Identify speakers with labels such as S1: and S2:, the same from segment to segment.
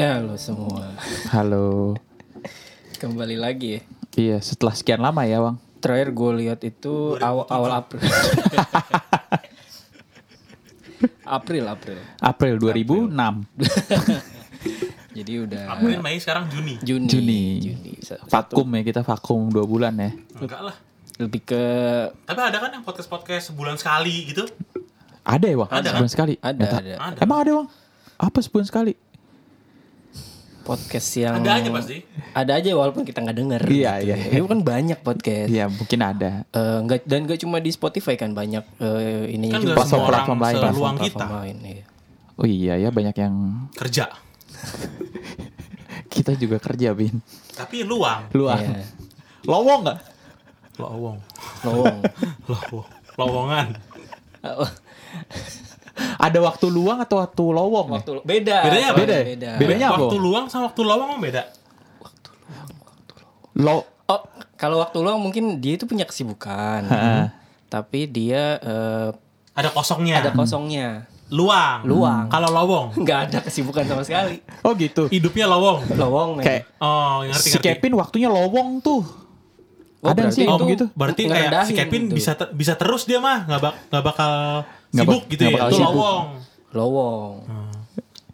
S1: Ya, Halo semua,
S2: Halo.
S1: kembali lagi ya.
S2: Iya, setelah sekian lama ya, Bang.
S1: Terakhir gue lihat itu awal awal April. April April.
S2: April 2006.
S1: Jadi udah
S3: April, Mei, sekarang Juni.
S1: Juni.
S2: Juni.
S1: Juni. Sa-
S2: Vakum ya, kita vakum dua bulan ya.
S3: Enggak lah.
S1: Lebih ke
S3: Tapi ada kan yang podcast-podcast sebulan sekali gitu?
S2: Ada ya, Bang?
S3: Ada.
S2: Sebulan sekali?
S1: ada
S2: Nggak tahu.
S1: ada
S3: Ada.
S2: Emang ada, Bang? Apa sebulan sekali?
S1: podcast yang
S3: Ada aja
S2: Oh.
S3: pasti.
S1: Ada aja walaupun kita nggak denger.
S2: Iya, iya,
S1: ya. Itu kan banyak podcast.
S2: Iya, mungkin ada.
S1: Eh, nggak- dan gak cuma di Spotify kan banyak eh, ininya
S3: Kan
S1: juga.
S3: nggak semua orang
S2: Iya, platform lain,
S3: seluang kita.
S1: platform lain, iya.
S2: Oh iya ya, banyak yang
S3: Kerja.
S2: kita juga kerja, Bin.
S3: Tapi luang.
S2: Luang.
S1: Iya.
S2: Lowong nggak?
S3: Lowong.
S1: Lowong.
S3: Lowong. Lowongan.
S2: Ada waktu luang atau waktu lowong? ya?
S1: Waktu beda.
S3: Bedanya apa?
S1: Soalnya
S2: Beda ya? Beda. Bedanya apa?
S3: waktu luang sama waktu lowong emang beda.
S2: Lo
S1: Oh, kalau waktu luang mungkin dia itu punya kesibukan. Tapi dia eh,
S3: Ada kosongnya.
S1: ada kosongnya.
S3: Luang.
S1: Luang.
S3: Kalau lowong,
S1: Nggak ada kesibukan sama sekali.
S2: Oh gitu.
S3: hidupnya lowong.
S1: Lowong
S2: Kayak
S3: Oh, ngerti
S2: si
S3: ngerti.
S2: Kevin waktunya lowong tuh.
S1: Oh,
S2: ada nggak
S1: berarti
S2: sih yang
S3: Oh,
S2: gitu?
S3: berarti
S1: Ngerendahin
S3: kayak si Kevin
S1: gitu.
S3: bisa ter- bisa terus dia mah nggak bak- nggak bakal
S2: Nggak
S3: sibuk
S2: bak-
S3: gitu
S2: nggak
S3: ya.
S2: bakal
S3: Itu
S2: sibuk.
S3: lowong.
S1: lowong.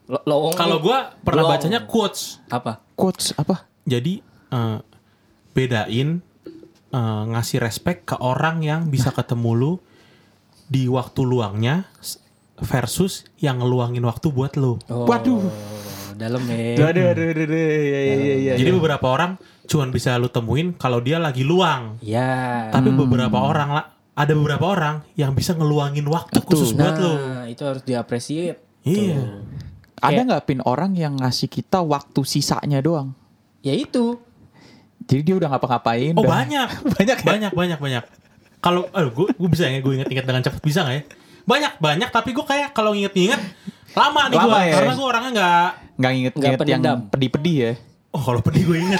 S1: Lo- lowong.
S3: Oh. Kalau gua pernah
S1: Lowong.
S3: bacanya quotes.
S1: apa?
S2: Quotes apa?
S3: jadi eh, bedain eh, ngasih respect ke orang yang bisa ketemu lu di waktu luangnya s- versus yang ngeluangin waktu buat lu.
S1: Oh,
S2: Waduh.
S1: Dalam ya.
S2: Aduh, aduh, aduh, aduh, iya, iya, iya, iya.
S3: Jadi beberapa orang cuman bisa lu temuin kalau dia lagi luang.
S1: Ya.
S3: Tapi
S2: Hmm.
S3: beberapa orang lah ada beberapa orang yang bisa ngeluangin waktu khusus
S1: Nah,
S3: buat lu.
S1: itu harus diapresiasi.
S3: Iya.
S2: Ada nggak pin orang yang ngasih kita waktu sisanya doang?
S1: Ya itu.
S2: Jadi dia udah ngapa-ngapain?
S3: Oh
S2: udah-
S3: banyak, banyak,
S1: ya?
S3: banyak, banyak, banyak. Kalau, aduh, gue, bisa ya, gue inget-inget dengan cepat bisa nggak ya? Banyak, banyak. Tapi gue kayak kalau nginget-nginget lama nih
S2: Lama
S3: gue,
S2: ya.
S3: karena gue orangnya nggak
S2: Nggak inget-inget
S1: Nggak
S2: yang
S1: pendendam.
S2: pedih-pedih ya?
S3: Oh kalau pedih gue inget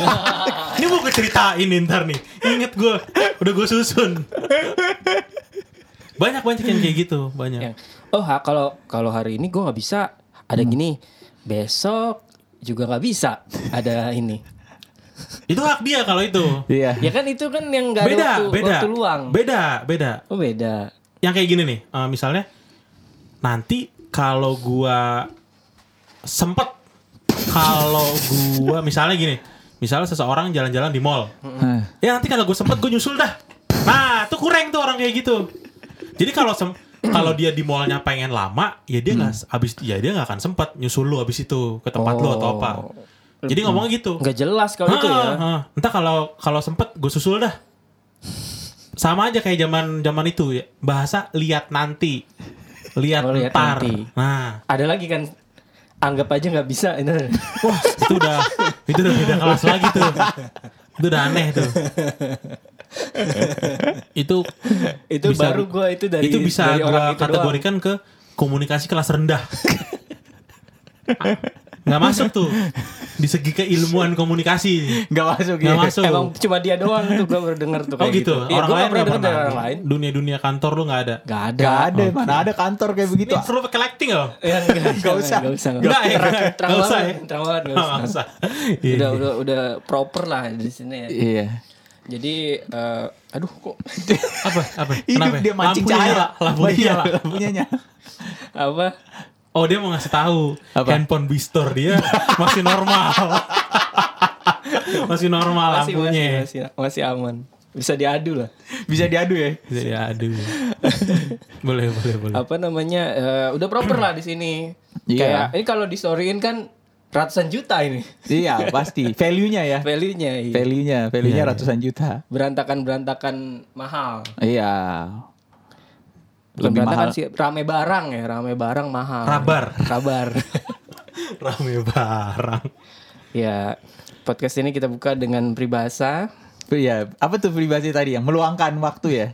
S3: Ini mau gue ceritain nih ntar nih Inget gue Udah gue susun Banyak-banyak yang kayak gitu Banyak
S1: Yang oh ha, kalau kalau hari ini gue nggak bisa. Ada
S3: Hmm.
S1: gini. Besok juga nggak bisa. Ada ini.
S3: Itu hak dia kalau itu
S2: Iya.
S1: Ya kan itu kan yang gak ada
S3: Beda
S1: waktu,
S3: Beda
S1: waktu luang.
S3: Beda Beda
S1: oh beda.
S3: Yang kayak gini nih eh, Misalnya Nanti Kalau gue Sempet Kalau gue Misalnya gini Misalnya seseorang jalan-jalan di mall
S2: Hah.
S3: Ya nanti kalau gue sempet gue nyusul dah. Nah tuh kurang tuh orang kayak gitu. Jadi kalau sem- kalau dia di mallnya pengen lama, ya dia nggak abis ya dia nggak akan sempet nyusul lu abis itu ke tempat lu atau apa. Jadi ngomongnya gitu.
S1: Nggak jelas kalau itu ya.
S3: Ah, ah. Entah kalau kalau sempet gue susul dah. Sama aja kayak zaman zaman itu ya. Bahasa lihat nanti. Lihat
S1: Oh, lihat
S3: ntar.
S1: nanti.
S3: Nah,
S1: Ada lagi kan anggap aja nggak bisa. Itu-
S3: wah itu udah itu udah beda kelas lagi tuh. Itu udah aneh tuh. itu
S1: itu
S3: Bisa-
S1: baru gue itu dari
S3: itu bisa
S1: dari
S3: gua
S1: itu doang.
S3: kategorikan ke komunikasi kelas rendah nggak masuk tuh di segi keilmuan komunikasi
S2: Nggak masuk ya?
S3: nggak masuk
S1: Iya, Emang cuma dia doang tuh gue baru denger tuh
S3: gitu. oh
S1: kayak
S3: gitu,
S1: Iya,
S3: orang
S1: gua
S3: lain
S1: nggak
S3: nggak
S1: pernah denger
S3: pernah
S1: dari orang lain.
S3: dunia dunia kantor lu nggak ada
S1: Gak ada.
S2: Nggak ada, mana ada kantor kayak begitu.
S3: ini perlu pakai lighting loh
S1: Ya,
S2: Nggak usah.
S1: Gak usah.
S3: Nggak, ya?
S1: Iya. Terang, terang
S3: Nggak usah,
S1: banget.
S3: ya?
S1: Terang banget. nggak usah.
S3: Nggak usah.
S1: Udah,
S3: Iya.
S1: udah, udah proper lah di sini. ya.
S2: Iya.
S1: Jadi, eh, aduh kok
S3: apa apa
S2: Hidup
S3: kenapa
S2: dia mancing
S3: Lampunya
S2: cahaya.
S3: nyala, lampunya
S2: Iya,
S3: nyala.
S2: Lampunya nyala.
S1: apa?
S3: oh dia mau ngasih tahu
S2: Apa?
S3: handphone bistor dia masih normal masih normal
S1: Masih, masih,
S3: lampunya
S1: masih, masih aman. Bisa diadu lah.
S2: Bisa diadu ya?
S3: Jadi aduh. boleh, boleh, boleh.
S2: Hmm.
S1: apa namanya eh, udah proper lah di sini
S2: Iya.
S1: kayak ini kalau di storyin kan ratusan juta ini
S2: Iya, pasti. Value-nya ya.
S1: value-nya iya.
S2: Value-nya, value-nya ratusan juta.
S1: berantakan berantakan mahal
S2: Iya.
S1: Bukan
S2: Lebih
S1: berantakan
S2: mahal.
S1: sih rame barang ya rame barang mahal
S3: Rabar.
S1: rabar
S3: Rame barang.
S1: ya podcast ini kita buka dengan peribahasa
S2: Iya, apa tuh privasi tadi yang meluangkan waktu ya?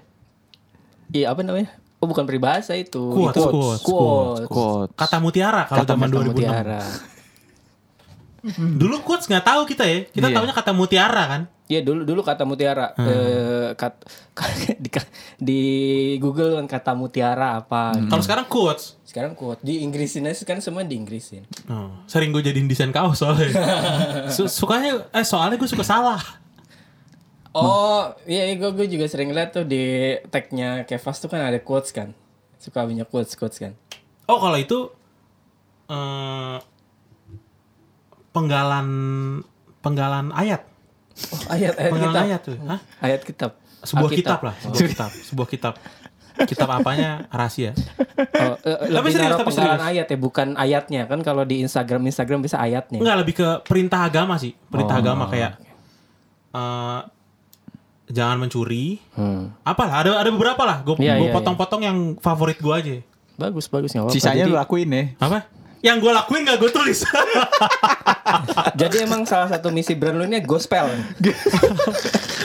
S1: iya apa namanya oh bukan peribahasa itu
S3: Quotes,
S1: itu
S3: quotes,
S1: quotes.
S2: Quotes.
S3: Kata mutiara kalau
S2: Kata
S3: zaman
S1: Kata
S3: 2006.
S1: mutiara.
S3: Dulu quotes nggak tahu kita ya. Kita
S2: Iya.
S3: taunya kata mutiara kan.
S1: Iya dulu dulu kata mutiara
S3: Hmm.
S1: eh, kat- di, di Google kan kata mutiara apa. gitu.
S3: Kalau sekarang quotes.
S1: Sekarang quote di Inggrisin aja sekarang semua di Inggrisin.
S3: Oh, sering gue jadiin desain kaos soalnya. Su- sukanya eh soalnya gue suka salah.
S1: Oh iya iya, gue gue juga sering lihat tuh di tagnya Kevas tuh kan ada quotes kan. Suka punya quotes quotes kan.
S3: Oh kalau itu eh penggalan penggalan ayat,
S1: Oh, ayat ayat
S3: penggalan
S1: kitab.
S3: ayat tuh. Hah?
S1: Ayat kitab.
S3: Sebuah
S1: Alkitab.
S3: kitab. lah, sebuah kitab, sebuah kitab. Kitab apanya rahasia.
S1: Oh, eh, lebih
S3: serius,
S1: naruh
S3: tapi
S1: penggalan
S3: serius.
S1: ayat ya bukan ayatnya kan kalau di Instagram Instagram bisa ayatnya.
S3: Enggak lebih ke perintah agama sih,
S1: Oh.
S3: perintah agama kayak eh jangan mencuri.
S1: Hmm.
S3: Apalah ada ada beberapa lah. Gue
S1: Iya, iya,
S3: potong-potong yang favorit gue aja.
S1: Bagus bagus nggak apa-apa.
S2: Sisanya
S1: Jadi-
S2: lu lakuin ya.
S3: Apa? Yang gue lakuin gak gue tulis.
S1: Jadi emang salah satu misi brand lu ini gospel.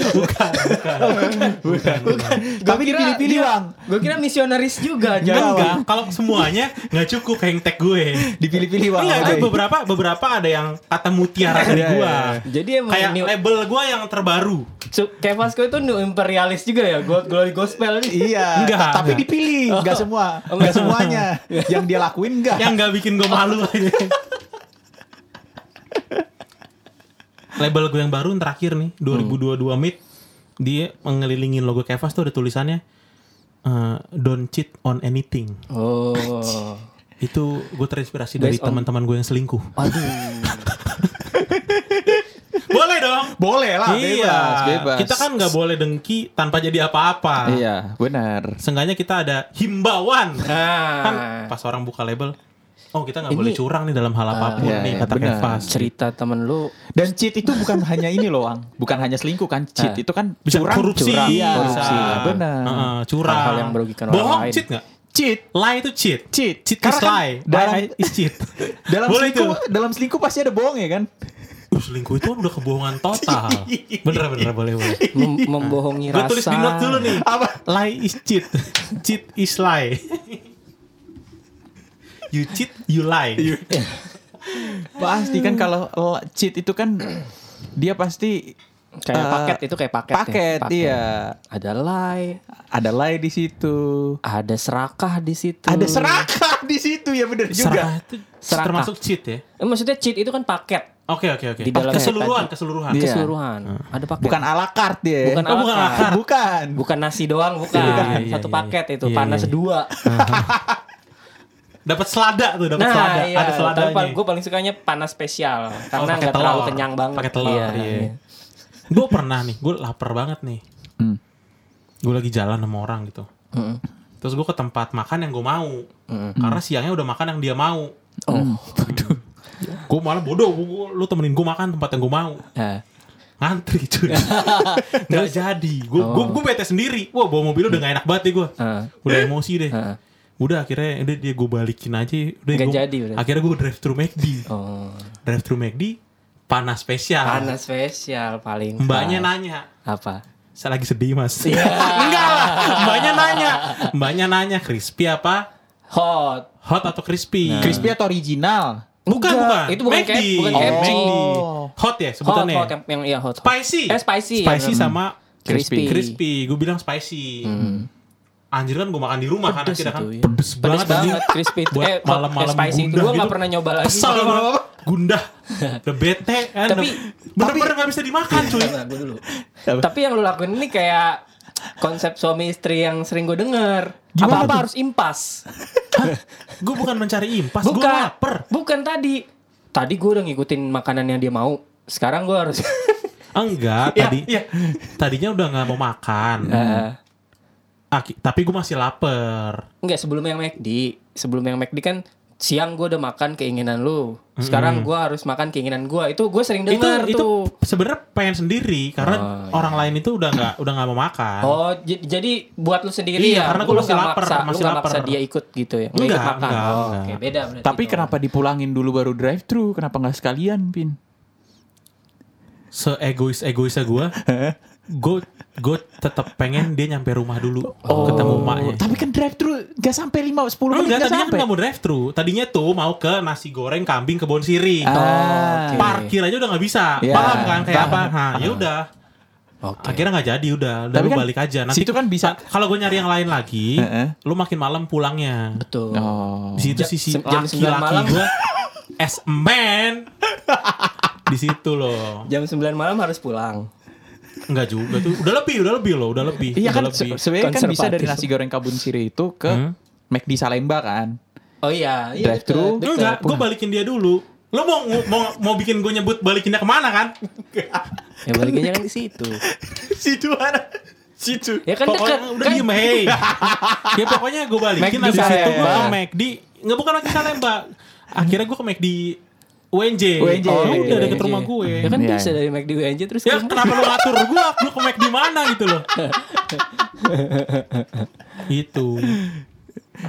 S3: bukan, bukan, bukan, bukan.
S2: Tapi dipilih-pilih, Bang.
S1: Gue kira misionaris juga,
S3: Enggak,
S1: jangan.
S3: enggak. Kan Kalau semuanya nggak cukup hang tag gue.
S2: Dipilih-pilih Bang.
S3: Enggak, ada
S2: Oke.
S3: beberapa beberapa ada yang kata mutiara dari
S2: Iya,
S3: gue.
S2: iya,
S1: Jadi emang
S3: Kayak
S1: new,
S3: label gue yang terbaru.
S1: su- kayak Vasco itu new imperialis juga ya, gua glory gospel ini.
S2: Iya.
S3: Enggak,
S2: Tapi
S3: enggak.
S2: dipilih, enggak semua. Enggak semuanya. Yang dia lakuin enggak.
S3: Yang nggak bikin gue malu aja. label gue yang baru yang terakhir nih 2022 mid dia mengelilingin logo Kevas tuh ada tulisannya eh, don't cheat on anything
S1: Oh.
S3: itu gue terinspirasi dari
S1: Based on-
S3: teman-teman gue yang selingkuh
S1: Aduh.
S3: boleh dong
S2: Boleh lah, bebas, bebas.
S3: Iya. Kita kan nggak boleh dengki tanpa jadi apa-apa.
S2: Iya, benar.
S3: Seenggaknya kita ada himbauan. Kan
S1: Nah, Ah,
S3: pas orang buka label, oh kita nggak
S1: Ini-
S3: boleh curang nih dalam hal apapun
S2: iya,
S3: nih
S2: iya,
S3: kata
S2: benar.
S3: Kevas.
S1: cerita temen lu
S2: Dan cheat itu bukan hanya ini loh, Ang. Bukan hanya selingkuh kan, cheat
S1: Eh.
S2: itu kan
S3: Bisa
S2: curang,
S3: korupsi,
S2: curang. Iya,
S3: bisa.
S2: korupsi. Benar.
S3: Heeh, curang.
S1: Hal-hal yang merugikan orang
S3: Bohong
S1: lain.
S3: cheat nggak?
S2: Cheat,
S3: Lie itu cheat.
S2: cheat.
S3: Cheat
S2: Karena
S3: is
S2: kan
S3: lie.
S2: dalam
S3: Lie is cheat.
S2: dalam
S3: boleh itu.
S2: selingkuh, dalam selingkuh pasti ada bohong ya kan?
S3: Uh, selingkuh itu udah kebohongan total. Bener-bener boleh boleh.
S1: mem- membohongi rasa.
S3: Gue Iya. tulis di note dulu nih.
S2: Apa?
S3: Lie is cheat. cheat is lie. you cheat, you lie.
S2: Pasti kan kalau l- cheat itu kan dia pasti
S1: Kayak
S2: eh,
S1: paket itu kayak paket. ya.
S2: Paket, iya.
S1: Ada lie,
S2: Ada lie di situ.
S1: ada serakah di situ.
S2: Ada serakah di situ ya benar
S3: Serakah
S2: juga.
S3: itu
S1: Serakah.
S3: termasuk cheat ya?
S1: Eh, Maksudnya cheat itu kan paket
S3: Oke oke oke.
S1: Di dalam
S3: keseluruhan
S1: tadi.
S3: keseluruhan.
S2: Iya.
S1: keseluruhan. Ada paket.
S2: Bukan ala carte ya.
S1: Bukan
S3: Oh, bukan
S1: ala
S3: ala carte.
S2: Bukan.
S1: Bukan nasi doang, bukan.
S3: Iya, iya, iya,
S1: Satu
S3: iya.
S1: paket itu,
S3: Iya,
S1: panas
S3: iya.
S1: dua.
S3: Dapat selada tuh, dapat
S1: Nah,
S3: selada.
S1: iya.
S3: Ada
S1: Tapi
S3: seladanya. Oh,
S1: paling- gue paling sukanya panas spesial karena
S3: pakai
S1: nggak terlalu
S3: telur.
S1: kenyang banget.
S3: Pakai telur,
S1: Iya.
S3: iya.
S1: iya.
S3: Gue pernah nih, gue lapar banget nih.
S2: Hmm.
S3: Gue lagi jalan sama orang gitu.
S1: Mm-mm.
S3: Terus gue ke tempat makan yang gue mau. Karena siangnya udah makan yang dia mau.
S1: Oh,
S3: Hmm. Gue malah bodoh, gua, lu temenin gue makan tempat yang gue mau.
S1: Nah,
S3: Ngantri cuy. Nggak jadi. Gue
S1: Oh.
S3: gue bete sendiri. Wah, bawa mobil
S1: Hmm.
S3: udah gak enak banget nih gue.
S1: Heeh.
S3: Udah emosi deh.
S1: Heeh.
S3: Udah akhirnya udah dia gue balikin aja. Udah,
S1: Ah. Nggak
S3: gua-
S1: jadi, berarti.
S3: Akhirnya gue drive thru McD.
S1: oh.
S3: drive thru McD panas spesial.
S1: Panas spesial Iya. paling.
S3: Mbaknya
S1: pas.
S3: nanya,
S1: apa?
S3: saya lagi sedih mas. Enggak lah, mbaknya nanya, mbaknya nanya crispy apa?
S1: Hot.
S3: Hot atau crispy?
S2: Crispy atau original?
S3: Bukan,
S1: Enggak,
S3: bukan.
S1: itu Nah. bukan
S3: McD.
S1: K- bukan
S3: Oh.
S1: KFC.
S3: McD. Hot ya
S1: Hot,
S3: sebutannya.
S1: hot yang, yang iya hot. hot.
S3: Spicy.
S1: Eh spicy. ya,
S3: Spicy
S1: bener.
S3: sama
S1: crispy.
S3: crispy. Gue bilang spicy. Anjir kan gue makan di rumah kan
S1: Pedes
S3: akhirnya kan
S1: itu, iya.
S3: pedes,
S1: Pedes
S3: banget, anjing.
S1: banget crispy itu.
S3: Buat
S1: Eh, hot,
S3: malam-malam
S1: eh, spicy itu
S3: gundah
S1: gue nggak
S3: gitu.
S1: pernah nyoba lagi.
S3: Kesel banget. Gundah. Udah bete kan.
S1: Tapi-
S3: bener-bener gak bisa dimakan cuy.
S1: Bentar, gua dulu. Tapi yang lu lakuin ini kayak konsep suami istri yang sering gue denger.
S2: Gimana
S1: Apa-apa
S2: tuh?
S1: harus impas.
S3: gue bukan mencari impas, gue
S1: Bukan.
S3: lapar.
S1: Bukan tadi. Tadi gue udah ngikutin makanan yang dia mau. Sekarang gue harus.
S3: Enggak,
S1: Ya,
S3: tadi
S1: ya.
S3: tadinya udah nggak mau makan.
S1: Eh,
S3: Aki- tapi gue masih lapar.
S1: Enggak sebelum yang McD. Sebelum yang McD kan siang gue udah makan keinginan lu. Sekarang gue harus makan keinginan gue. Itu gue sering denger
S3: itu
S1: tuh. iya.
S3: itu sebenarnya pengen sendiri karena orang lain itu udah nggak udah nggak mau makan.
S1: Oh, j- jadi buat lu sendiri
S3: Iya,
S1: ya.
S3: karena gua
S1: Lu
S3: masih
S1: nggak
S3: lapar,
S1: maksa-
S3: masih
S1: lu nggak
S3: lapar.
S1: maksa dia ikut gitu ya. Nggak
S3: Enggak,
S1: ikut makan.
S3: enggak,
S1: Oh,
S3: enggak.
S1: Oke, beda berarti.
S2: Tapi
S1: itu.
S2: kenapa dipulangin dulu baru drive thru? Kenapa nggak sekalian, Pin?
S3: Seegois egoisnya gue, gue gue tetap pengen dia nyampe rumah dulu
S2: Oh.
S3: ketemu maknya.
S2: Tapi kan drive thru gak sampai 5 10 menit
S3: Enggak,
S2: gak
S3: tadinya kan
S2: sampai.
S3: nggak mau drive thru. Tadinya tuh mau ke nasi goreng kambing kebon siri.
S2: Ah,
S1: Oke.
S3: Parkir aja udah nggak bisa.
S2: Ya,
S3: Paham kan
S2: paham. Ah.
S3: kayak apa? Nah, ya udah.
S1: Oke.
S3: Akhirnya nggak jadi udah. Udah
S2: Tapi
S3: lu
S2: kan
S3: balik aja. Nanti
S2: situ kan bisa-
S3: ka- Kalau gue nyari yang lain lagi,
S2: Heeh.
S3: lu makin malam pulangnya.
S1: Betul.
S2: Oh.
S3: Di situ
S1: Jam-
S3: sisi
S1: sem- jam sembilan
S3: laki-laki
S1: malam.
S3: gue as a man. Di situ loh.
S1: Jam 9 malam harus pulang.
S3: Enggak juga tuh. Udah lebih, udah lebih loh, udah lebih.
S2: Iya
S3: udah
S2: kan
S3: lebih. Hmm?
S2: se- sebenarnya kan bisa dari
S1: Konservatif.
S2: nasi goreng kabun siri itu ke McD Salemba kan.
S1: Oh iya, iya
S2: Drive
S1: deket,
S2: thru.
S1: deket.
S3: Enggak, gue balikin dia dulu. Lo mau mau mau bikin gue nyebut balikin dia kemana kan?
S1: Ya baliknya kan di situ.
S2: situ ada situ.
S1: Ya kan
S3: pokoknya
S1: dekat.
S3: udah
S1: Kan
S3: diem hey. ya pokoknya gue balikin
S2: McD
S3: abis
S1: ya.
S3: itu gue
S2: Salemba.
S3: ke McD. Nggak bukan lagi Salemba. Akhirnya gue ke McD
S1: Iya,
S3: UNJ.
S2: UNJ.
S3: Oh, udah deket
S1: WNJ.
S3: rumah gue.
S1: Ya kan
S2: Iya,
S1: bisa
S2: iya.
S1: dari McD WNJ terus
S3: Ya
S1: ke-
S3: kenapa lo ngatur gue? Gue ke McD mana gitu loh. itu.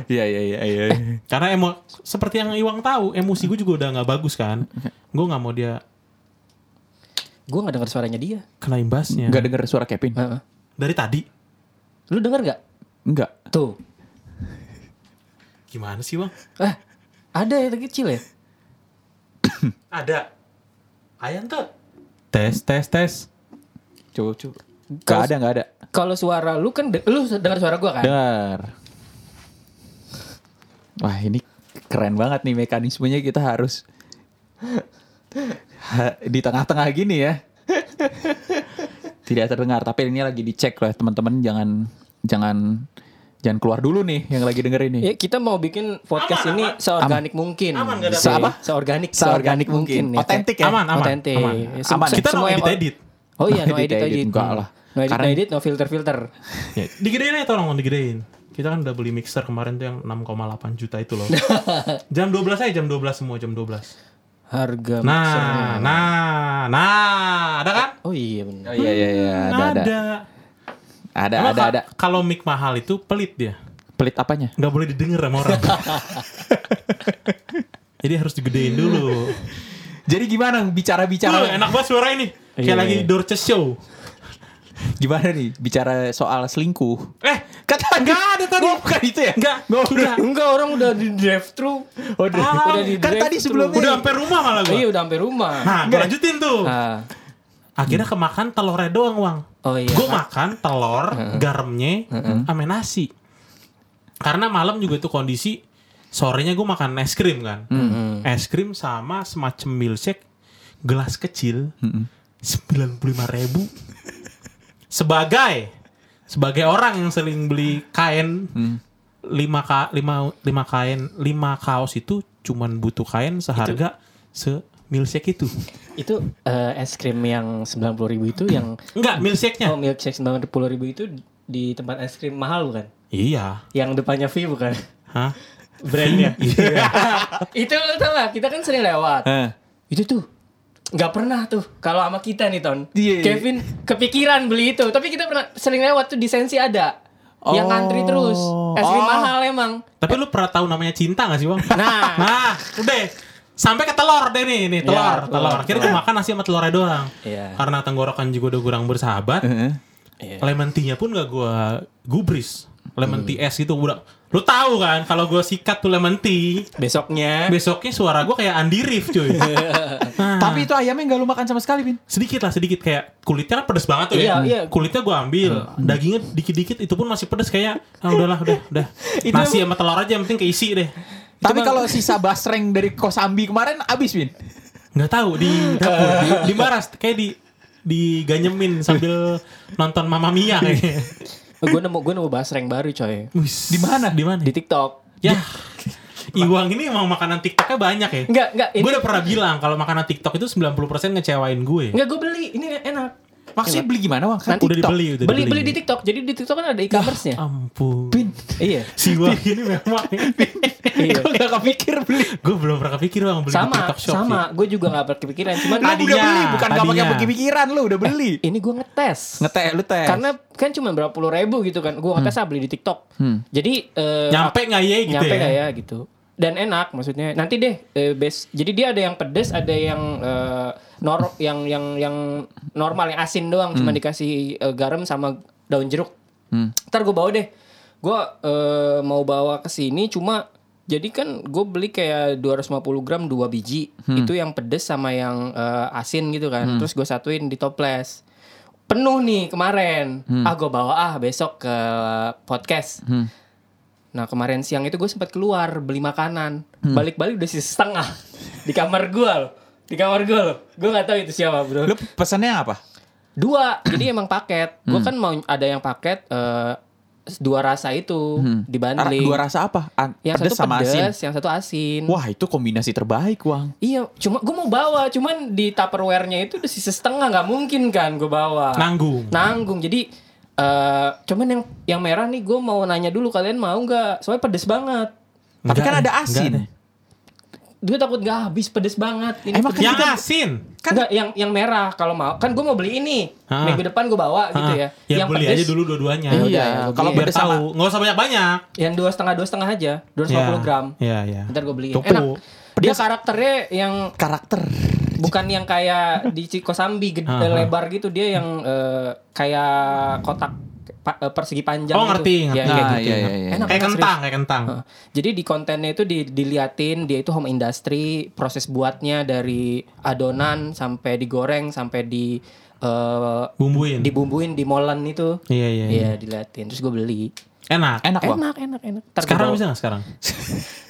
S2: Iya iya iya iya.
S3: Gitu. Eh, Karena emo seperti yang Iwang tahu, emosi gue juga udah nggak bagus kan. Gue nggak mau dia
S1: Gue gak dengar suaranya dia.
S3: kena imbasnya.
S2: Enggak dengar suara Kevin?
S1: Heeh.
S3: Dari tadi
S1: Lu dengar gak?
S2: Enggak.
S1: Tuh.
S3: gimana sih, Bang?
S1: Ah, ada ya kecil ya?
S3: Ada. Ayam tuh. Tes, tes, tes.
S2: Coba coba. Enggak
S1: Kalau-
S2: ada enggak ada.
S1: Kalau suara lu kan de- lu dengar suara gua kan?
S2: Dengar. Wah, ini keren banget nih mekanismenya kita harus Ha- di tengah-tengah gini ya. Tidak terdengar, tapi ini lagi dicek lah teman-teman jangan jangan jangan keluar dulu nih yang lagi denger ini.
S1: Ya, kita mau bikin podcast
S3: Aman,
S1: ini
S3: aman.
S1: seorganik mungkin.
S3: Aman, nggak ada
S1: Se-
S2: apa?
S1: Seorganik,
S2: Seorganik mungkin.
S1: ya.
S2: Otentik ya?
S3: Aman, aman.
S1: Otentik.
S3: aman.
S1: Ya, sem-
S2: Aman.
S1: sem-
S3: Kita no
S1: semua yang-
S3: edit-edit.
S1: Oh iya,
S2: No
S1: no edit
S2: edit-edit,
S1: edit.
S2: enggak lah.
S1: No edit,
S2: Karena-
S1: no edit, no filter filter.
S3: Ya, digedein aja tolong digedein. Kita kan udah beli mixer kemarin tuh yang 6,8 juta itu loh. jam 12 aja jam 12 semua jam 12.
S1: Harga mixer.
S3: Nah, nah, nah, ada kan?
S1: Oh iya benar.
S2: Oh, iya iya iya, ada ada. Ada
S3: Emang
S2: ada
S3: ka-
S2: ada.
S3: Kalau mic mahal itu pelit dia.
S2: Pelit apanya?
S3: Nggak boleh didengar sama orang. Jadi harus digedein dulu.
S2: Jadi gimana
S3: Tuh,
S2: bicara-bicara
S3: enak banget suara ini. Kayak
S1: Iya,
S3: lagi
S1: iya.
S3: Dorces Show.
S2: gimana nih bicara soal selingkuh?
S3: Eh,
S2: Kata
S3: Nggak ada tadi.
S2: Oh, bukan itu ya?
S3: Enggak,
S2: Nggak,
S3: udah.
S1: Enggak, orang udah di drive thru.
S2: Oh, udah.
S1: udah di
S2: Kan
S1: drive
S2: tadi sebelumnya-
S3: Udah sampai rumah malah
S1: Iya,
S3: gua.
S1: udah sampai rumah.
S3: Nah, gua lanjutin tuh.
S1: Ah.
S3: Akhirnya kemakan telurnya doang, Wang.
S1: Oh iya.
S3: Gue makan telur, garamnya, sama nasi. Karena malam juga itu kondisi sorenya gue makan es krim kan. Es krim sama semacam milkshake gelas kecil sembilan puluh ribu sebagai sebagai orang yang sering beli kain
S1: Hmm.
S3: lima ka, lima lima kain lima kaos itu cuman butuh kain seharga se milkshake itu
S1: Itu eh, es krim yang 90.000 itu yang
S3: enggak milkshake-nya
S1: Oh, milkshake 90.000 itu di tempat es krim mahal bukan?
S3: iya
S1: Yang depannya V bukan?
S3: Hah?
S1: Brandnya. itu lo tau gak? Kita kan sering lewat.
S2: Eh.
S1: Itu tuh nggak pernah tuh kalau sama kita nih ton.
S2: Iya, iya.
S1: Kevin kepikiran beli itu, tapi kita pernah sering lewat tuh di sensi ada. Yang
S2: Oh.
S1: ngantri terus. Es krim
S2: Oh.
S1: mahal emang.
S3: Tapi lu pernah tahu namanya cinta gak sih, Bang?
S1: Nah.
S3: nah, udah. Sampai ke telur deh nih, nih telur,
S1: Ya, telur,
S3: telur. Akhirnya gue makan nasi sama telurnya doang.
S1: Iya.
S3: Karena tenggorokan juga udah kurang bersahabat.
S2: Heeh.
S3: Lemon tea-nya pun gak gua gubris. Lemon
S1: Hmm.
S3: tea es itu udah lu tahu kan kalau gua sikat tuh lemon tea,
S1: Besoknya
S3: besoknya suara gua kayak Andi Rif, cuy. Nah,
S2: Tapi itu ayamnya nggak lu makan sama sekali, Bin.
S3: sedikit lah sedikit kayak kulitnya kan pedes banget tuh ya.
S1: Iya, iya.
S3: Kulitnya gua ambil, dagingnya dikit-dikit itu pun masih pedes kayak ah udahlah udah udah.
S1: Itu-
S3: Nasi sama telur aja yang penting keisi deh.
S2: Tapi kalau sisa basreng dari Kosambi kemarin habis, Bin.
S3: nggak tahu di dapur di, di baras kayak di diganyemin sambil nonton Mamma Mia kayaknya.
S1: gue Oh, nemu gue nemu basreng baru coy
S3: Wis.
S2: Di mana?
S3: Di mana?
S1: di TikTok.
S3: Ya. Iwang ini emang makanan TikToknya banyak ya.
S1: Enggak, enggak ini
S3: Gue udah pernah bilang kalau makanan TikTok itu 90% ngecewain gue.
S1: enggak gue beli. Ini enak.
S2: Maksudnya beli gimana, Wang? Kan
S1: Nanti
S3: udah
S2: TikTok.
S3: dibeli, udah
S1: beli
S3: dibeli.
S1: beli di TikTok. Jadi di TikTok kan ada e-commerce-nya.
S3: Ampun.
S2: Bin.
S1: iya.
S3: Si Iwang ini memang. ya.
S1: Iya.
S2: Kok gak kepikir beli?
S3: gue belum pernah kepikir bang beli di
S1: sama
S3: TikTok Shop.
S1: sama
S3: Ya.
S1: gue juga nggak berkepikiran cuma
S2: Lu
S3: Tadinya,
S2: udah beli, bukan nggak pakai
S3: tadinya.
S2: pikiran lu udah beli.
S1: ini gue ngetes
S2: Ngeteh lu teh.
S1: karena kan cuma berapa puluh ribu gitu kan gue ngetes ah beli di TikTok jadi eh,
S3: Nyampe nggak ya gitu
S1: Iya, nyampe
S3: ya?
S1: nggak ya gitu dan enak maksudnya nanti deh eh, base jadi dia ada yang pedes ada yang eh, nor yang yang yang normal yang asin doang cuma
S3: Hmm.
S1: dikasih eh, garam sama daun jeruk ntar gue bawa deh gue eh, mau bawa ke sini cuma jadi kan gue beli kayak 250 gram dua biji
S3: Hmm.
S1: itu yang pedes sama yang eh, asin gitu kan terus gue satuin di toples penuh nih kemarin
S3: Hmm.
S1: ah gue bawa ah besok ke podcast Nah kemarin siang itu gue sempat keluar beli makanan
S2: Hmm.
S1: Balik-balik udah sisa setengah Di kamar gue loh Di kamar gue loh Gue gak tahu itu siapa bro
S2: Lu pesannya apa?
S1: Dua Jadi emang paket
S2: Hmm.
S1: Gue kan mau ada yang paket eh, Dua rasa itu
S2: Ra-
S1: Dibanding
S2: Hmm. Ah, Dua rasa apa? An-
S1: Yang
S2: pedes
S1: satu
S2: sama
S1: pedes
S2: asin.
S1: Yang satu asin
S2: Wah, itu kombinasi terbaik, Wang.
S1: Iya Cuma gue mau bawa Cuman di tupperware-nya itu udah sisa setengah Gak mungkin kan gue bawa
S3: Nanggung.
S1: Nanggung Jadi eh, Cuman yang yang merah nih Gue mau nanya dulu Kalian mau gak? Soalnya pedes banget
S2: Tapi
S3: Enggak,
S2: kan ada
S3: enggak,
S2: asin.
S3: enggak.
S1: Gue takut gak habis Pedes banget Ini
S2: Emang
S1: pedes
S3: Yang asin.
S1: kan Nggak, yang yang merah kalau mau kan gue mau beli ini
S3: Ah.
S1: minggu depan gue bawa gitu ya
S3: Ah, Ya beli
S1: pedes,
S3: aja dulu dua-duanya.
S1: Iya,
S2: Iya,
S1: yang
S2: kalau
S1: beli.
S3: Biar
S2: pedes sama
S3: tahu, nggak usah banyak-banyak.
S1: yang dua setengah dua setengah aja 250 gram
S3: Iya, iya.
S1: ntar gue beli
S3: Cukup.
S1: enak dia
S2: Pedes.
S1: karakternya yang
S2: karakter.
S1: bukan yang kayak di Cikosambi gede
S3: Ah, ah.
S1: lebar gitu dia yang eh, kayak kotak pa- eh, persegi panjang
S3: Oh,
S1: gitu.
S3: ngerti, ngerti.
S1: Ya, kayak
S2: Nah,
S1: gitu.
S2: iya, iya, iya.
S1: enak
S3: Kayak
S1: enak,
S3: kentang,
S1: serius.
S3: kayak kentang.
S1: Heeh. Jadi di kontennya itu di- diliatin dia itu home industry, proses buatnya dari adonan sampai digoreng sampai di eh,
S3: Bumbuin.
S1: dibumbuin di molen itu
S3: Iya, iya,
S1: iya
S3: iya.
S1: diliatin terus gue beli
S3: Enak.
S2: Enak, Wang.
S1: enak gitu. enak enak Ntar gua
S3: Sekarang
S1: bawa.
S3: bisa nggak sekarang?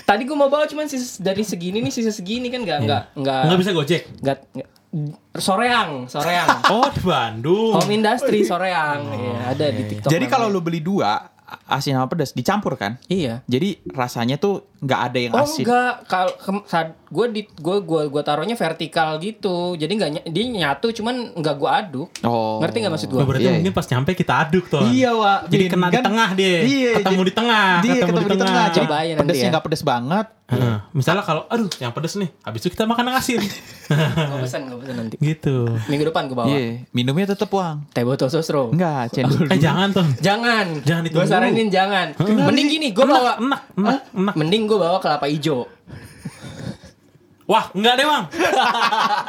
S1: tadi gue mau bawa cuman sis- dari segini nih sisa segini kan nggak nggak nggak
S3: Nggak bisa gojek.
S1: nggak nggak- soreang soreang
S3: Oh, di Bandung.
S1: home industry soreang Iya, ada di tiktok
S2: Jadi kalau
S1: namanya.
S2: lu beli dua asin sama pedas dicampur kan?
S1: iya
S2: Jadi rasanya tuh nggak ada yang
S1: Oh
S2: asin.
S1: enggak, kalau kem- saat gue di gue gue gue taruhnya vertikal gitu, jadi nggak ny- dia nyatu, cuman nggak gue aduk.
S2: Oh.
S1: Ngerti nggak maksud gue?
S3: Oh, berarti
S2: Iya,
S3: mungkin pas nyampe kita aduk tuh.
S2: Iya, Wak.
S3: Jadi
S2: Bin,
S3: kena di
S2: kan?
S3: tengah deh.
S2: Iya,
S3: ketemu
S2: jadi-
S3: di tengah,
S2: Dia ketemu, di tengah. Jadi
S1: Cobain nanti
S2: pedesnya
S1: ya.
S2: nggak pedes banget.
S3: Heeh. misalnya kalau aduh yang pedes nih, habis itu kita makan yang asin.
S1: Gue pesan gue pesan nanti.
S3: gitu.
S1: Minggu depan gue bawa.
S2: Iya, minumnya tetap Wang.
S1: Teh botol sosro.
S2: Enggak, cendol.
S3: Eh jangan tuh.
S1: Jangan.
S3: Jangan
S1: Gue
S3: ditunggu.
S1: saranin jangan. Mending gini, gue bawa.
S3: Enak, enak, enak.
S1: Mending gue bawa kelapa hijau.
S3: Wah, enggak deh, Bang.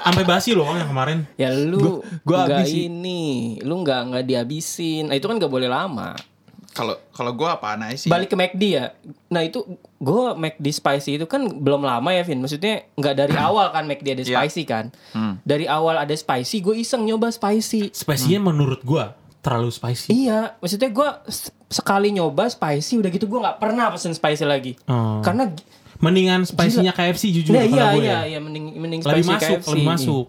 S3: Sampai basi loh Bang yang kemarin.
S1: Ya lu
S2: Gua- gua
S1: nggak
S2: habisin.
S1: ini, lu nggak nggak dihabisin. Nah, itu kan nggak boleh lama.
S2: Kalau kalau gua apaan aja sih?
S1: Balik ke McD ya. Nah itu gue McD spicy itu kan belum lama ya Vin. Maksudnya nggak dari
S3: Hmm.
S1: awal kan McD ada
S2: Iya.
S1: spicy kan. Dari awal ada spicy, gue iseng nyoba spicy.
S2: Hmm.
S3: Spesinya menurut gua terlalu spicy.
S1: Iya, maksudnya gue sekali nyoba spicy udah gitu gue nggak pernah pesen spicy lagi.
S3: Oh.
S1: Karena gi-
S3: Mendingan spicy-nya KFC jujur
S1: Nah,
S3: kalau
S1: iya
S3: gue.
S1: iya
S3: ya.
S1: iya mending mending
S3: Lebih
S1: spicy
S3: masuk,
S1: KFC.
S3: lebih masuk.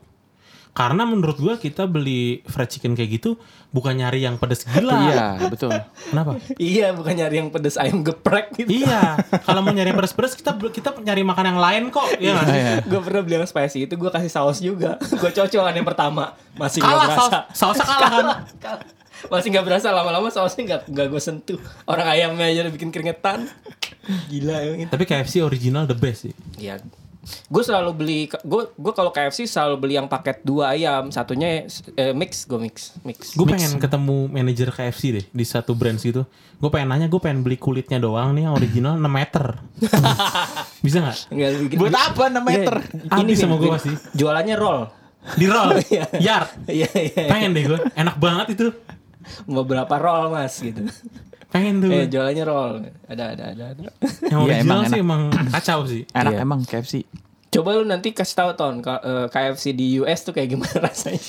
S3: Karena menurut gua kita beli fried chicken kayak gitu bukan nyari yang pedes gila.
S2: Iya, betul.
S3: Kenapa?
S1: Iya, bukan nyari yang pedes ayam geprek gitu.
S3: iya, kalau mau nyari yang pedes-pedes kita kita nyari makan yang lain kok, ya
S1: Ah,
S3: nggak
S2: Iya,
S3: sih?
S1: gue pernah beli yang spicy itu gue kasih saus juga. Gue cocokan yang pertama, masih nggak
S3: Kalah saus,
S1: berasa.
S3: sausnya kalah kan?
S1: Kalah. Masih nggak berasa lama-lama sausnya nggak nggak gue sentuh. Orang ayamnya aja udah bikin keringetan. Gila emang gitu. itu.
S3: Tapi KFC original the best sih.
S1: Iya. Gue selalu beli gue gue kalau KFC selalu beli yang paket dua ayam, satunya eh, mix gue mix mix.
S3: Gue pengen ketemu manajer KFC deh di satu brand gitu. Gue pengen nanya, gue pengen beli kulitnya doang nih yang original 6 meter. Bisa nggak?
S1: Nggak bikin-
S2: Buat apa 6
S1: Iya.
S2: meter?
S1: Ini
S3: Habis
S1: Vin,
S3: sama gua
S1: Vin.
S3: pasti.
S1: Jualannya roll.
S3: Di roll,
S1: Iya.
S3: yard.
S1: Iya iya.
S3: Pengen deh gue, enak banget itu.
S1: Mau berapa roll mas gitu.
S3: Pengen tuh.
S1: Eh jualannya roll. Ada ada ada. ada.
S3: yang
S2: Iya,
S3: original
S2: emang
S3: sih emang kacau sih.
S2: Enak
S1: Iya.
S2: emang KFC.
S1: Coba lu nanti kasih tahu ton ka- eh, KFC di US tuh kayak gimana rasanya.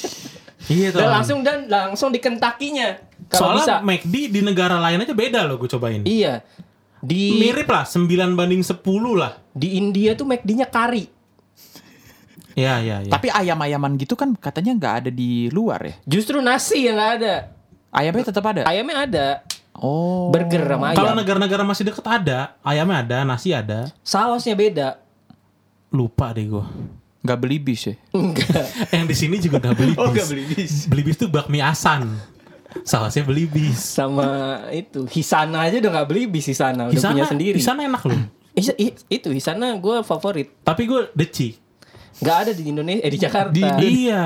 S3: Iya
S1: dan
S3: tuh.
S1: langsung dan langsung di Kentucky-nya kalau bisa.
S3: Soalnya McD di negara lain aja beda loh gue cobain.
S1: Iya. Di
S3: Mirip lah, 9 banding 10 lah.
S1: di India tuh McD-nya kari.
S3: Iya, iya, iya.
S2: Tapi ayam-ayaman gitu kan katanya nggak ada di luar ya.
S1: Justru nasi yang nggak ada.
S2: Ayamnya tetap ada.
S1: Ayamnya ada.
S2: Oh.
S1: Burger sama
S3: Kalau
S1: ayam.
S3: negara-negara masih deket ada, ayamnya ada, nasi ada.
S1: Sausnya beda.
S3: Lupa deh gue.
S2: Nggak beli bis ya.
S1: Enggak.
S3: Yang di sini juga gak beli bis.
S1: Oh, nggak beli bis.
S3: Beli bis tuh bakmi asan. Sausnya beli bis.
S1: Sama itu Hisana aja udah nggak beli bis Hisana udah
S3: Hisana,
S1: punya sendiri.
S3: Hisana enak loh.
S1: His- i- itu Hisana gue favorit.
S3: Tapi gue deci. nggak
S1: Gak ada di Indonesia eh di Jakarta.
S3: iya.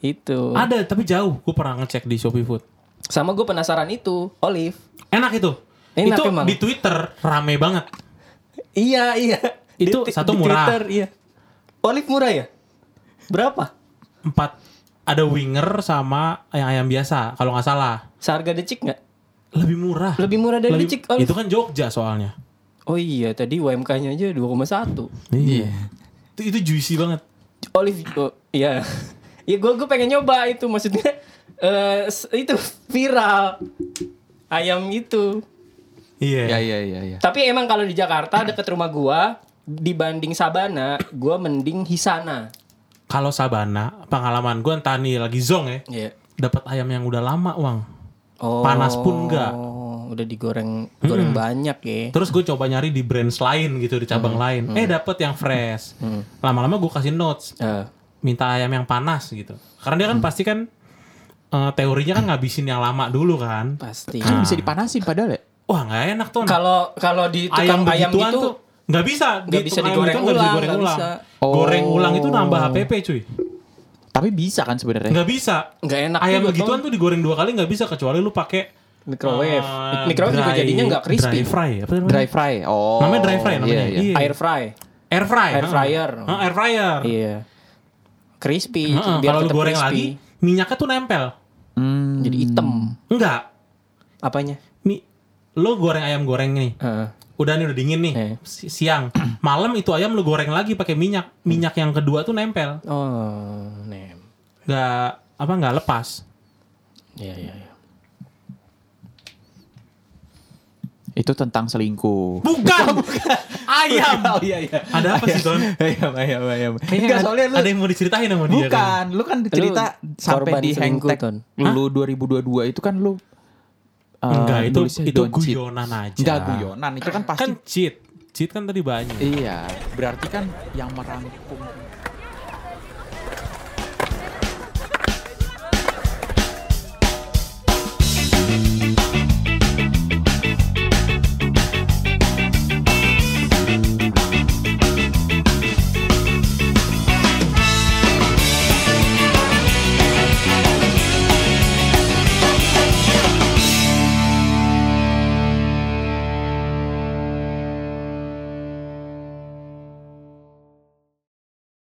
S1: itu.
S3: Ada tapi jauh. Gue pernah ngecek di Shopee Food.
S1: Sama gue penasaran itu olive.
S3: Enak itu.
S1: Enak
S3: itu
S1: emang.
S3: di Twitter rame banget.
S1: Iya, iya.
S3: Itu
S1: ti-
S3: satu murah.
S1: Twitter, iya. Olive murah ya? Berapa?
S3: Empat ada winger sama yang ayam biasa kalau nggak salah.
S1: Seharga decik nggak?
S3: Lebih murah.
S1: Lebih murah dari decik olive.
S3: Itu kan Jogja soalnya.
S1: Oh iya, tadi UMK-nya aja 2,1.
S2: Iya.
S3: Itu, itu juicy banget.
S1: Olive, oh, iya. Ya gue gue pengen nyoba itu maksudnya eh s- itu viral ayam itu.
S3: Iya.
S1: Ya,
S2: Iya iya iya iya.
S1: Tapi emang kalau di Jakarta deket rumah gua dibanding Sabana, gua mending Hisana.
S3: Kalau Sabana, pengalaman gue entah nih lagi zong ya.
S1: Iya.
S3: Dapat ayam yang udah lama, Wang.
S1: Oh.
S3: Panas pun nggak.
S1: Udah digoreng goreng banyak ya.
S3: Terus gue coba nyari di brands lain gitu, di
S1: Hmm.
S3: cabang lain. Eh, dapet yang fresh. Lama-lama gue kasih notes.
S1: Eh,
S3: minta ayam yang panas gitu. Karena dia kan
S1: Hmm.
S3: pasti kan eh, teorinya kan ngabisin yang lama dulu kan.
S1: pasti.
S2: Kan bisa dipanasin padahal ya.
S3: Wah nggak enak tuh.
S1: Kalau kalau di tukang ayam,
S3: ayam begituan
S1: gitu
S3: tuh nggak bisa.
S1: nggak bisa
S3: tukang ayam
S1: digoreng
S3: gitu nggak
S1: ulang,
S3: digoreng
S1: nggak
S3: ulang.
S1: bisa.
S3: Goreng
S2: Oh.
S3: ulang itu nambah HPP cuy.
S2: Tapi bisa kan sebenarnya.
S3: Nggak bisa.
S1: nggak enak.
S3: ayam
S1: juga,
S3: begituan
S1: Tom.
S3: tuh digoreng dua kali nggak bisa kecuali lu pakai
S1: microwave.
S3: eh,
S1: microwave juga
S3: dry-
S1: jadinya nggak crispy.
S3: Dry fry apa namanya?
S2: Dry fry. Oh.
S3: Namanya dry fry namanya.
S2: Iya, iya.
S3: Iya.
S1: Air fry.
S3: Air fry.
S1: Air
S3: ha.
S1: fryer. Oh.
S3: Ha, air fryer.
S1: Iya. Crispy
S3: Ha,
S1: biar
S3: Ah. Kalau lu
S1: tetap
S3: goreng
S1: crispy.
S3: lagi minyaknya tuh nempel.
S2: Hmm.
S1: Jadi hitam
S3: Enggak.
S1: apanya?
S3: Mi lu goreng ayam goreng nih.
S1: Heeh.
S3: udah nih udah dingin nih
S1: Eh.
S3: si- siang malam itu ayam lu goreng lagi pakai minyak minyak yang kedua tuh nempel
S1: oh, nem.
S3: nggak apa nggak lepas
S1: Iya, iya, iya.
S2: Itu tentang selingkuh.
S3: bukan, ayam
S2: Oh iya iya.
S3: ada apa sih Ton
S2: Ayam ayam ayam.
S3: Kayaknya
S2: Enggak
S3: ada-
S2: soalnya lu
S3: ada yang mau diceritain sama dia kan?
S2: Bukan, lu kan cerita
S1: Lu
S2: sampai
S1: korban
S2: di
S1: selingkuh,
S2: hangtag.
S1: Ton.
S2: Lu 2022 itu kan lu uh,
S3: enggak itu
S2: nulisnya
S3: itu
S2: don't cheat.
S3: guyonan aja
S2: Enggak guyonan, itu kan pasti
S3: kan cheat cheat kan tadi banyak
S2: Iya, berarti kan yang merangkum